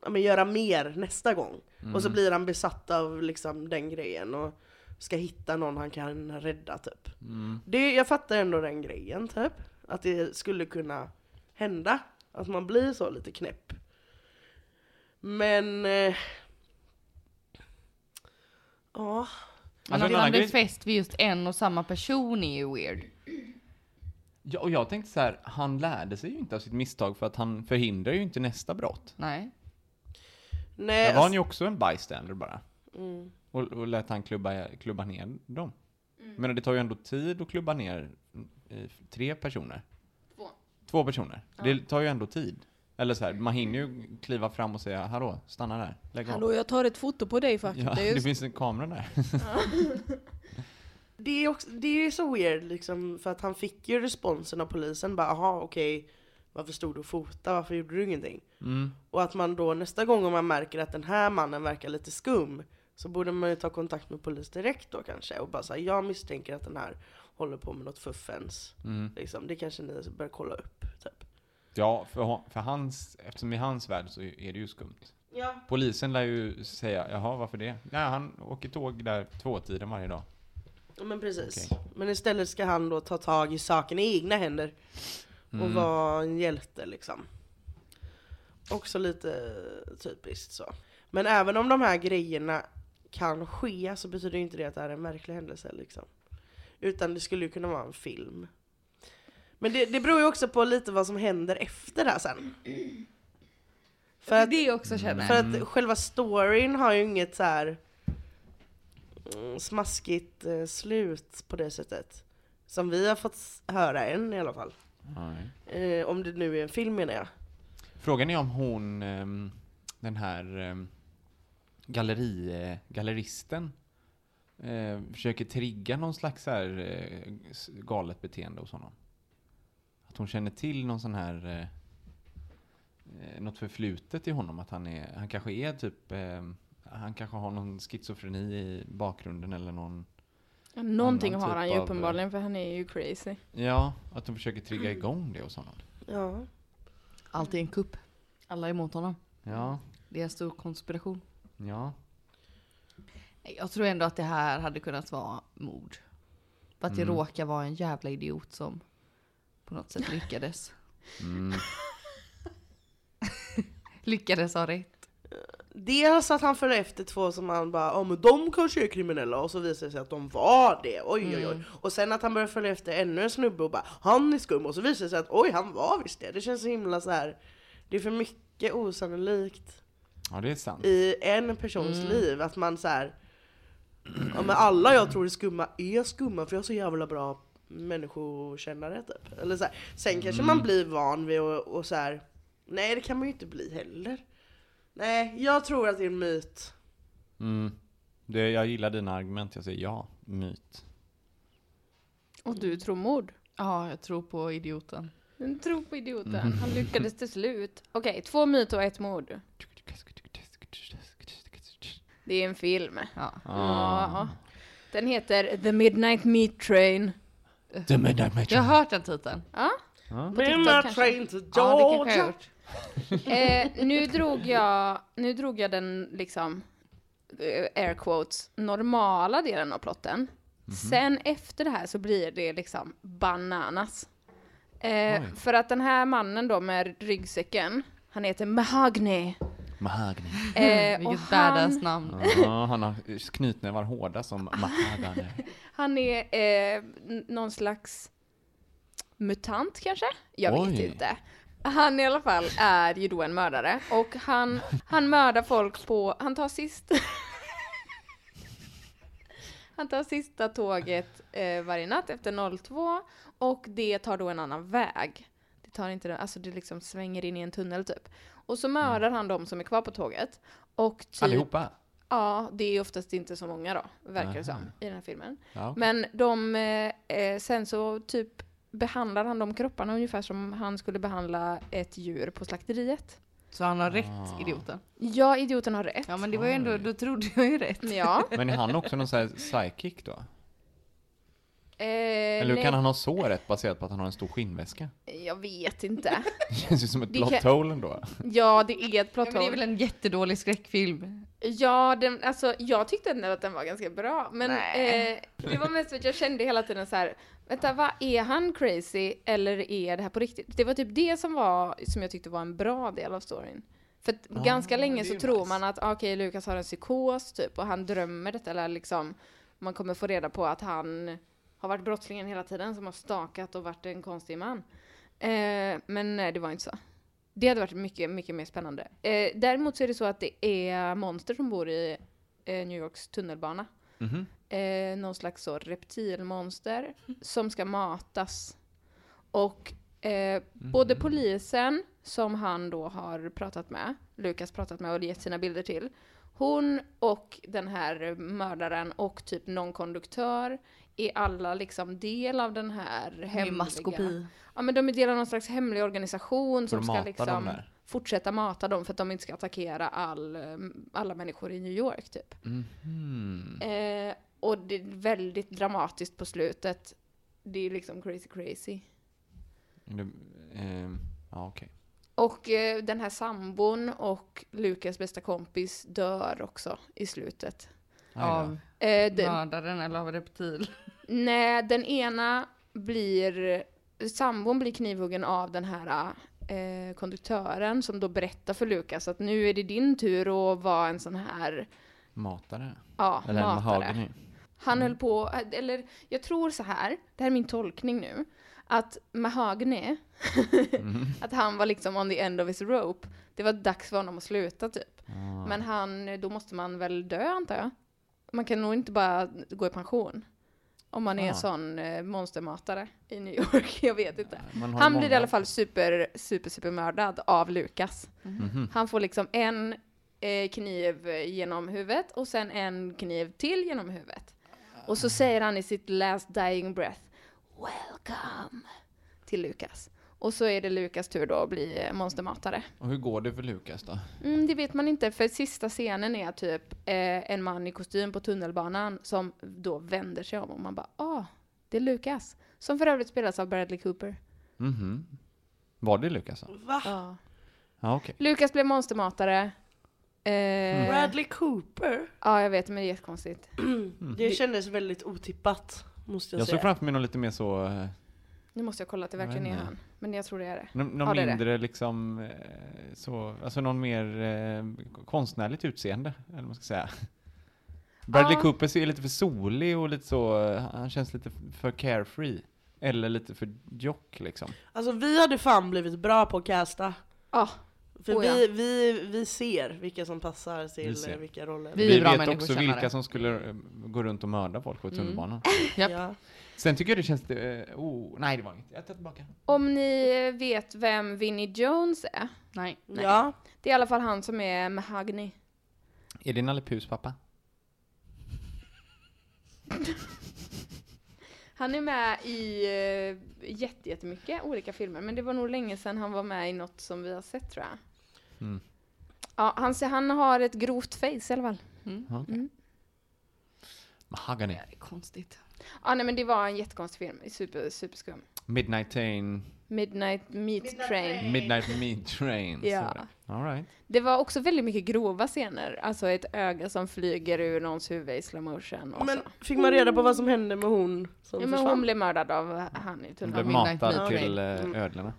Speaker 2: ja, men göra mer nästa gång. Och så
Speaker 4: Mm.
Speaker 2: blir han besatt av liksom den grejen och ska hitta någon han kan rädda typ.
Speaker 4: Mm.
Speaker 2: Det, jag fattar ändå den grejen typ. Att det skulle kunna hända. Att man blir så lite knäpp. Men... eh, Ja.
Speaker 4: Alltså,
Speaker 3: Men
Speaker 4: en
Speaker 3: att
Speaker 4: annan
Speaker 3: man blir
Speaker 4: grej-
Speaker 3: fäst vid just en och samma person är ju weird.
Speaker 4: Ja, och jag tänkte så här, han lärde sig ju inte av sitt misstag för att han förhindrar ju inte nästa brott.
Speaker 3: Nej.
Speaker 2: Nej,
Speaker 4: Där var han ju också en bystander bara.
Speaker 5: Mm.
Speaker 4: Och, och lät han klubba, klubba ner dem. Men det tar ju ändå tid att klubba ner eh, tre personer.
Speaker 1: Två.
Speaker 4: Två personer. Det tar ju ändå tid. Eller så här, man hinner ju kliva fram och säga hallå, stanna där, lägg av.
Speaker 5: Hallå, jag tar ett foto på dig faktiskt.
Speaker 4: Ja, det finns en kamera där. [laughs]
Speaker 2: Det är, också, det är så weird liksom, för att han fick ju responsen av polisen bara aha okej, varför stod du och fotade, varför gjorde du ingenting? Och att man då nästa gång om man märker att den här mannen verkar lite skum så borde man ju ta kontakt med polis direkt då kanske och bara säga jag misstänker att den här håller på med något fuffens. Liksom, det kanske ni bör kolla upp. Typ.
Speaker 4: Ja, för, hon- för hans, eftersom i hans värld så är det ju skumt.
Speaker 2: Ja.
Speaker 4: Polisen lär ju säga, jaha varför det? Nej, han åker tåg där tvåtiden varje dag.
Speaker 2: Men precis.
Speaker 4: Okej.
Speaker 2: Men istället ska han då ta tag i saken i egna händer och vara en hjälte liksom. Också lite typiskt så. Men även om de här grejerna kan ske så betyder ju inte det att det här är en verklig händelse liksom. Utan det skulle ju kunna vara en film. Men det, det beror ju också på lite vad som händer efter det här sen. För att,
Speaker 3: det jag också känner.
Speaker 2: för att själva storyn har ju inget så här mm, smaskigt eh, slut på det sättet. Som vi har fått s- höra än i alla fall. Eh, om det nu är en film menar jag.
Speaker 4: Frågan är om hon, ehm, den här ehm, galleri, eh, galleristen, eh, försöker trigga någon slags så här eh, s- galet beteende hos honom. Att hon känner till någon sån här, eh, eh, något förflutet i honom, att han är, han kanske är typ, ehm, han kanske har någon schizofreni i bakgrunden eller någon,
Speaker 1: Ja, Någonting
Speaker 4: Annan
Speaker 1: har
Speaker 4: typ
Speaker 1: han ju
Speaker 4: av-
Speaker 1: uppenbarligen för han är ju crazy.
Speaker 4: ja, att hon försöker trigga igång det hos honom.
Speaker 2: Ja.
Speaker 3: Allt är en kupp. Alla är emot honom.
Speaker 4: Ja,
Speaker 3: Det är en stor konspiration.
Speaker 4: ja.
Speaker 3: Jag tror ändå att det här hade kunnat vara mord. För att det råkar vara en jävla idiot som på något sätt lyckades. [laughs] lyckades ha rätt.
Speaker 2: Dels att han följde efter två som han bara oh, men de kanske är kriminella och så visade det sig att de var det. Oj oj oj. Och sen att han började följa efter ännu en snubbe och bara han är skum och så visade det sig att oj han var visst det. Det känns så himla så här. Det är för mycket osannolikt.
Speaker 4: Ja, det är sant.
Speaker 2: i en persons liv. Att man så här, ja, men alla jag tror är skumma är skumma för jag är så jävla bra människokännare typ. Eller så här. Sen kanske man blir van vid och, och så här. nej det kan man ju inte bli heller. Nej, jag tror att det är en myt.
Speaker 4: Mm. Det, jag gillar dina argument, jag säger ja. Myt.
Speaker 1: Och du tror mord.
Speaker 3: Ja, jag tror på idioten.
Speaker 1: Men Tro på idioten.
Speaker 4: Mm.
Speaker 1: Han lyckades till slut. Okej, två myter och ett mord. Det är en film.
Speaker 3: Ja.
Speaker 4: Ah.
Speaker 1: Ja. Den heter The Midnight Meat Train.
Speaker 4: The midnight
Speaker 3: Jag har hört den titeln.
Speaker 1: Ja,
Speaker 2: Been a
Speaker 1: kanske.
Speaker 2: train to
Speaker 3: Ja, det kanske jag har
Speaker 2: Georgia.
Speaker 3: gjort. [laughs]
Speaker 1: Eh, nu, drog jag, nu drog jag den liksom, eh, air quotes, normala delen av plotten.
Speaker 3: Mhm.
Speaker 1: Sen efter det här så blir det liksom bananas. Eh,
Speaker 4: Oj.
Speaker 1: för att den här mannen då med ryggsäcken, han heter Mahagni.
Speaker 4: Mahagni.
Speaker 1: Eh, och
Speaker 3: [laughs] Vilket badass
Speaker 1: han,
Speaker 3: namn.
Speaker 4: Ja, han har knytnävar hårda som
Speaker 1: Ah.
Speaker 4: Mahagani.
Speaker 1: [laughs] Typ. han är eh, n- någon slags mutant kanske? Jag vet
Speaker 4: Oj.
Speaker 1: inte. Han i alla fall är ju då en mördare och han, han mördar folk på, han tar sist [laughs] Han tar sista tåget eh, varje natt efter 02 och det tar då en annan väg. Det tar inte, den- alltså det liksom svänger in i en tunnel typ. Och så mördar han de som är kvar på tåget. Och typ,
Speaker 4: Allihopa?
Speaker 1: Ja, det är oftast inte så många då, verkar
Speaker 4: Aha.
Speaker 1: det som, i den här filmen.
Speaker 4: Ja, okej.
Speaker 1: Men de, eh, eh, sen så typ behandlar han de kropparna ungefär som han skulle behandla ett djur på slakteriet.
Speaker 3: Så han har rätt, idioten.
Speaker 1: Ja, idioten har rätt.
Speaker 3: Ja men det var ju ändå, då trodde jag ju rätt.
Speaker 1: Ja.
Speaker 4: Men är han också någon sån här psychic då?
Speaker 1: Eh,
Speaker 4: [laughs] Eller hur
Speaker 1: nej,
Speaker 4: kan han ha så rätt baserat på att han har en stor skinnväska? [laughs]
Speaker 1: Jag vet inte.
Speaker 4: Det känns ju som ett
Speaker 1: Det kan-
Speaker 4: plot hole ändå.
Speaker 1: Ja, det är ett plot
Speaker 3: Ja, men det är väl
Speaker 1: hole.
Speaker 3: en jättedålig skräckfilm.
Speaker 1: Ja, den, alltså, jag tyckte ändå att den var ganska bra. Men eh,
Speaker 3: Nej.
Speaker 1: det var mest för att jag kände hela tiden så här, vänta, vad är han crazy eller är det här på riktigt? Det var typ det som, var, som jag tyckte var en bra del av storyn. För att ganska länge så tror man att ah, okej, Lukas har en psykos typ och han drömmer detta eller liksom man kommer få reda på att han har varit brottslingen hela tiden som har stakat och varit en konstig man. Eh, men nej, det var inte så. Det hade varit mycket, mycket mer spännande. Eh, däremot så är det så att det är monster som bor i eh, New Yorks tunnelbana.
Speaker 4: Mhm.
Speaker 1: Eh, någon slags så reptilmonster som ska matas. Och eh, både polisen, som han då har pratat med, Lukas pratat med och gett sina bilder till, hon och den här mördaren och typ någon konduktör är alla liksom del av den här hemliga...
Speaker 3: maskopi.
Speaker 1: Ja men de är del av någon slags hemlig organisation som
Speaker 4: de
Speaker 1: ska
Speaker 4: matar dem
Speaker 1: liksom
Speaker 4: där?
Speaker 1: fortsätta mata dem för att de inte ska attackera all, eh, alla människor i New York typ.
Speaker 4: Mhm.
Speaker 1: Eh, och det är väldigt dramatiskt på slutet. Det är liksom crazy crazy.
Speaker 4: Eller, ehm, Ja, okej.
Speaker 1: Och eh, den här sambon och Lukas bästa kompis dör också i slutet.
Speaker 4: Aj då.
Speaker 3: Av
Speaker 1: Eh, den,
Speaker 3: mördaren eller av reptil.
Speaker 1: Nej, den ena blir... Sambon blir knivhuggen av den här eh, konduktören som då berättar för Lukas att nu är det din tur att vara en sån här
Speaker 4: Matare?
Speaker 1: ja,
Speaker 4: Eller en
Speaker 1: matare.
Speaker 4: Mahagani?
Speaker 1: Han höll på, eh, eller jag tror så här, det här är min tolkning nu, att Mahagni, [laughs] att han var liksom on the end of his rope. Det var dags för honom att sluta typ. Men han, då måste man väl dö antar jag. Man kan nog inte bara gå i pension. Om man är
Speaker 4: Ah.
Speaker 1: en sån eh, monstermatare i New York, [laughs] jag vet inte.
Speaker 4: Man har
Speaker 1: Han
Speaker 4: många-
Speaker 1: blir i alla fall super, super, super mördad av Lukas.
Speaker 4: Mhm.
Speaker 1: Han får liksom en eh, kniv genom huvudet och sen en kniv till genom huvudet. Och så säger han i sitt last dying breath Welcome till Lukas. Och så är det Lukas tur då att bli eh, monstermatare.
Speaker 4: Och hur går det för Lukas då?
Speaker 1: Mm, det vet man inte, för sista scenen är typ eh, en man i kostym på tunnelbanan som då vänder sig om och man bara ah, det är Lukas. Som för övrigt spelas av Bradley Cooper.
Speaker 4: Mhm. Var det Lukas då?
Speaker 2: Va?
Speaker 1: Ja.
Speaker 4: Ja, okej.
Speaker 1: Lukas blev monstermatare. Eh,
Speaker 4: Mm.
Speaker 2: Bradley Cooper?
Speaker 1: Ja, jag vet, men det är jättekonstigt.
Speaker 2: Det kändes väldigt otippat, måste jag,
Speaker 4: Jag såg
Speaker 2: säga.
Speaker 4: framför mig någon lite mer så, eh,
Speaker 1: Nu måste jag kolla att det
Speaker 4: Jag
Speaker 1: verkligen
Speaker 4: vet
Speaker 1: är
Speaker 4: inte.
Speaker 1: han. Men jag tror det är det.
Speaker 4: någon, någon
Speaker 1: Ja, det är det.
Speaker 4: mindre liksom, eh, så, alltså någon mer eh, konstnärligt utseende, eller vad man ska säga. Bradley
Speaker 1: Ja.
Speaker 4: Cooper ser lite för solig och lite så, eh, han känns lite för carefree. Eller lite för jock liksom.
Speaker 2: Alltså vi hade fan blivit bra på att casta.
Speaker 1: Ja,
Speaker 2: För
Speaker 1: Oh, ja.
Speaker 2: vi, vi, vi ser vilka som passar
Speaker 4: Vi
Speaker 2: till
Speaker 4: ser.
Speaker 2: eh, vilka roller.
Speaker 3: Vi är bra
Speaker 4: vet
Speaker 3: människor,
Speaker 4: också
Speaker 3: tjänar
Speaker 4: vilka
Speaker 3: det.
Speaker 4: som skulle eh, gå runt och mörda folk på tunnelbanan.
Speaker 3: Japp.
Speaker 2: Ja.
Speaker 4: Sen tycker jag det känns, eh, oh, nej det var inget, jag tar tillbaka.
Speaker 1: Om ni vet vem Vinnie Jones är.
Speaker 3: Nej. nej.
Speaker 2: ja.
Speaker 1: Det är i alla fall han som är Mahagni.
Speaker 4: Är det Nalle Puhs pappa?
Speaker 1: Han är med i uh, jätte, jättemycket olika filmer, men det var nog länge sedan han var med i något som vi har sett tror jag.
Speaker 4: Mm.
Speaker 1: Ja, han, ser- han har ett grovt face i alla fall.
Speaker 4: Ja, Okej.
Speaker 1: Mm.
Speaker 4: Mahagani.
Speaker 3: Det är konstigt.
Speaker 1: ah, nej men det var en jättekonstig film. Super, superskum.
Speaker 4: Midnight Train,
Speaker 1: Midnight Meat Train.
Speaker 4: Midnight Meat Train. så
Speaker 1: Ja.
Speaker 4: var det. All right.
Speaker 1: Det var också väldigt mycket grova scener. Alltså ett öga som flyger ur någons huvud i slow motion och
Speaker 2: Men
Speaker 1: så.
Speaker 2: fick man reda på vad som hände med hon som
Speaker 1: Ja, men
Speaker 2: försvann?
Speaker 1: hon blev mördad typ av han i
Speaker 4: Hon
Speaker 1: tunneln.
Speaker 4: blev
Speaker 3: Midnight
Speaker 4: matad
Speaker 3: Meat
Speaker 4: till eh, ödlorna.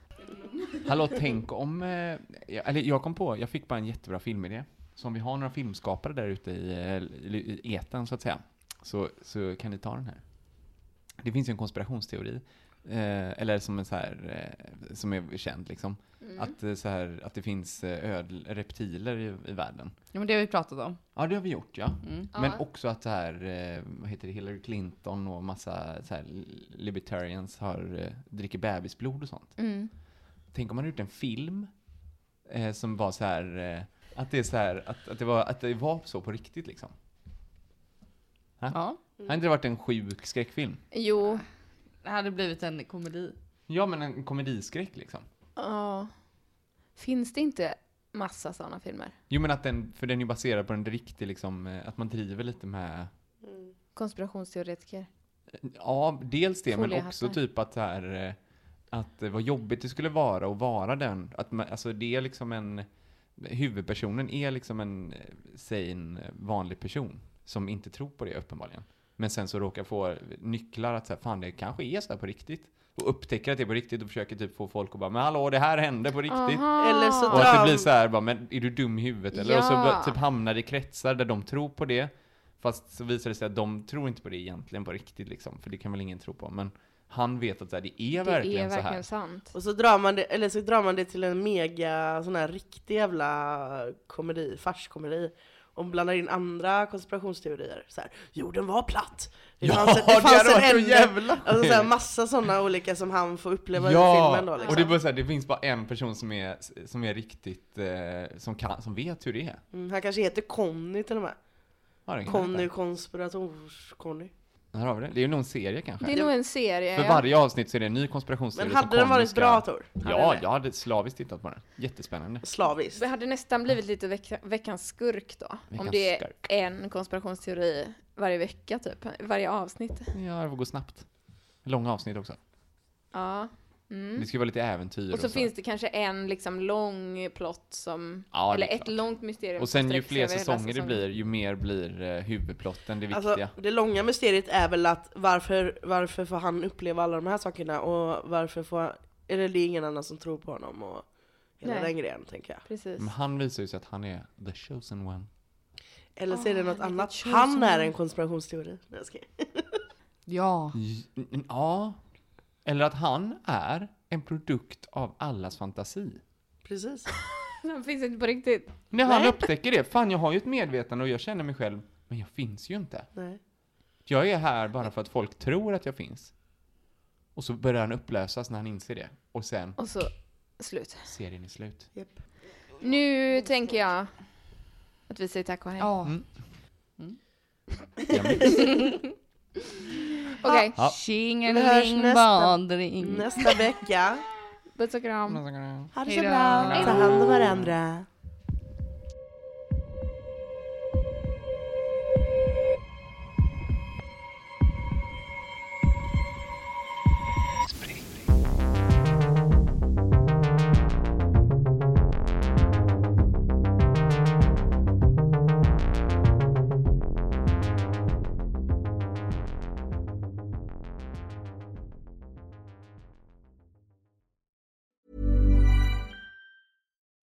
Speaker 4: Hallå, tänk om... eh, jag- Eller jag kom på, jag fick bara en jättebra filmidé. Så om vi har några filmskapare där ute i, eh, i i etern så att säga, så, så kan ni ta den här. Det finns ju en konspirationsteori, eh, eller som är så här, eh, som är känd liksom, att, eh, så här, att det finns eh, ödl, reptiler i, i världen.
Speaker 3: Ja, men det har vi pratat om.
Speaker 4: Ja, det har vi gjort ja. Men
Speaker 1: Ja.
Speaker 4: också att det här, eh, vad heter det, Hillary Clinton och massa så här, libertarians har, eh, dricker bebisblod och sånt. Tänk om man hade gjort en film eh, som var så här, eh, att det är så här, att, att, det var, att det var så på riktigt liksom.
Speaker 3: Ja.
Speaker 4: Hade inte det varit en sjuk skräckfilm?
Speaker 1: Jo.
Speaker 3: Det hade blivit en komedi.
Speaker 4: Ja, men en komediskräck liksom.
Speaker 1: Ja. Finns det inte massa sådana filmer?
Speaker 4: Jo, men att den, för den är ju baserad på en riktig liksom, eh, att man driver lite med
Speaker 1: Konspirationsteoretiker.
Speaker 4: Ja, dels det, men
Speaker 1: Foliehattar.
Speaker 4: också typ att det här, eh, att eh, vad jobbigt det skulle vara att vara den. Att man, alltså det är liksom en, huvudpersonen är liksom en, eh, säg en eh, vanlig person som inte tror på det uppenbarligen. Men sen så råkar få nycklar att så här, fan det kanske är så här på riktigt. Och upptäcker att det är på riktigt och försöker typ få folk att bara, men hallå det här hände på riktigt.
Speaker 1: Aha.
Speaker 2: Eller så
Speaker 4: Och att
Speaker 2: drar
Speaker 4: det blir så här, bara, men är du dum i huvudet eller? Och så
Speaker 1: Ja.
Speaker 4: bara typ hamnar i kretsar där de tror på det. Fast så visar det sig att de tror inte på det egentligen på riktigt liksom, för det kan väl ingen tro på. Men han vet att så här, det är
Speaker 1: Det
Speaker 4: verkligen
Speaker 1: är
Speaker 4: så här.
Speaker 1: verkligen sant.
Speaker 2: Och så drar, man det, eller så drar man det till en mega sån här riktig jävla komedi, farskomedi. Och blandar in andra konspirationsteorier. Så här, jorden var platt! Det
Speaker 4: Ja,
Speaker 2: fanns,
Speaker 4: det hade varit så
Speaker 2: ände.
Speaker 4: jävla
Speaker 2: Alltså så här,
Speaker 4: kul.
Speaker 2: massa sådana olika som han får uppleva i
Speaker 4: Ja,
Speaker 2: filmen då liksom.
Speaker 4: och det, är bara så här, det finns bara en person som är, som är riktigt, eh, som, kan, som vet hur det är.
Speaker 2: mm, han kanske heter Conny till och med.
Speaker 4: Ja, det kan jag
Speaker 2: Conny
Speaker 4: inte.
Speaker 2: konspirators-Conny.
Speaker 4: Här har vi det. Det är ju någon serie kanske.
Speaker 1: Det är nog en serie.
Speaker 4: För
Speaker 1: ja.
Speaker 4: varje avsnitt så är det en ny konspirationsteori
Speaker 2: Men
Speaker 4: som
Speaker 2: hade den
Speaker 4: Conny
Speaker 2: varit
Speaker 4: ska-
Speaker 2: bra Tor?
Speaker 4: Ja, jag hade slaviskt tittat på den. Jättespännande.
Speaker 2: Slaviskt.
Speaker 1: Det hade nästan blivit lite veck veckans skurk då.
Speaker 4: Veckans
Speaker 1: om det är
Speaker 4: skurk.
Speaker 1: en konspirationsteori varje vecka typ. Varje avsnitt.
Speaker 4: Ja, det får gå snabbt. Långa avsnitt också.
Speaker 1: Ja. mm.
Speaker 4: Det ska ju vara lite äventyr
Speaker 1: Och så
Speaker 4: här.
Speaker 1: finns det kanske en liksom lång plott som,
Speaker 4: Ja, det är
Speaker 1: eller ett
Speaker 4: klart.
Speaker 1: långt mysterium
Speaker 4: Och
Speaker 1: som
Speaker 4: sen
Speaker 1: sträcker
Speaker 4: ju
Speaker 1: sig
Speaker 4: fler
Speaker 1: över hela
Speaker 4: säsonger det
Speaker 1: säsongen.
Speaker 4: blir, ju mer blir eh, huvudplotten det viktiga.
Speaker 2: Alltså, det långa mysteriet är väl att varför, varför får han uppleva alla de här sakerna och varför får eller det är ingen annan som tror på honom och hela
Speaker 1: Nej.
Speaker 2: den grejen tänker jag.
Speaker 1: Precis.
Speaker 4: Men han visar ju sig att han är the chosen one.
Speaker 2: Eller så är det
Speaker 1: Ah,
Speaker 2: något
Speaker 1: vilket
Speaker 2: annat.
Speaker 1: tjus
Speaker 2: Han
Speaker 1: som
Speaker 2: är
Speaker 1: han-
Speaker 2: en konspirationsteori. Nej, jag skojar.
Speaker 3: Ja.
Speaker 4: Mm, Ja. Eller att han är en produkt av allas fantasi.
Speaker 2: Precis.
Speaker 1: [laughs] Den finns inte på riktigt.
Speaker 4: När han upptäcker det, fan jag har ju ett medvetande och jag känner mig själv, men jag finns ju inte.
Speaker 2: Nej.
Speaker 4: Jag är här bara för att folk tror att jag finns. Och så börjar han upplösas när han inser det. Och sen,
Speaker 1: Och så slut.
Speaker 4: serien är slut.
Speaker 1: Nu tänker jag att vi säger tack och hej.
Speaker 3: Ja.
Speaker 2: Mm.
Speaker 1: Okej,
Speaker 4: Ja.
Speaker 2: Vi hörs
Speaker 3: Tjingeling
Speaker 2: nästa-
Speaker 3: badring.
Speaker 2: Nästa vecka.
Speaker 1: puss och kram.
Speaker 2: Ha det så
Speaker 3: Hejdå.
Speaker 2: bra. Ta hand om varandra.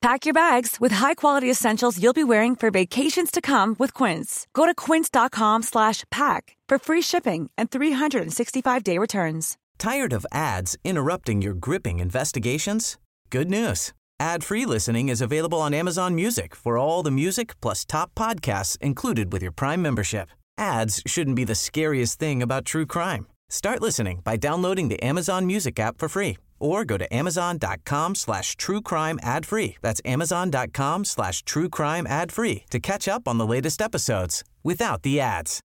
Speaker 5: Pack your bags with high-quality essentials you'll be wearing for vacations to come with Quince. Go to quince.com slash pack for free shipping and 365-day returns.
Speaker 6: Tired of ads interrupting your gripping investigations? Good news. Ad-free listening is available on Amazon Music for all the music plus top podcasts included with your Prime membership. Ads shouldn't be the scariest thing about true crime. Start listening by downloading the Amazon Music app for free or go to amazon.com slash true crime ad free. That's amazon.com slash true crime ad free to catch up on the latest episodes without the ads.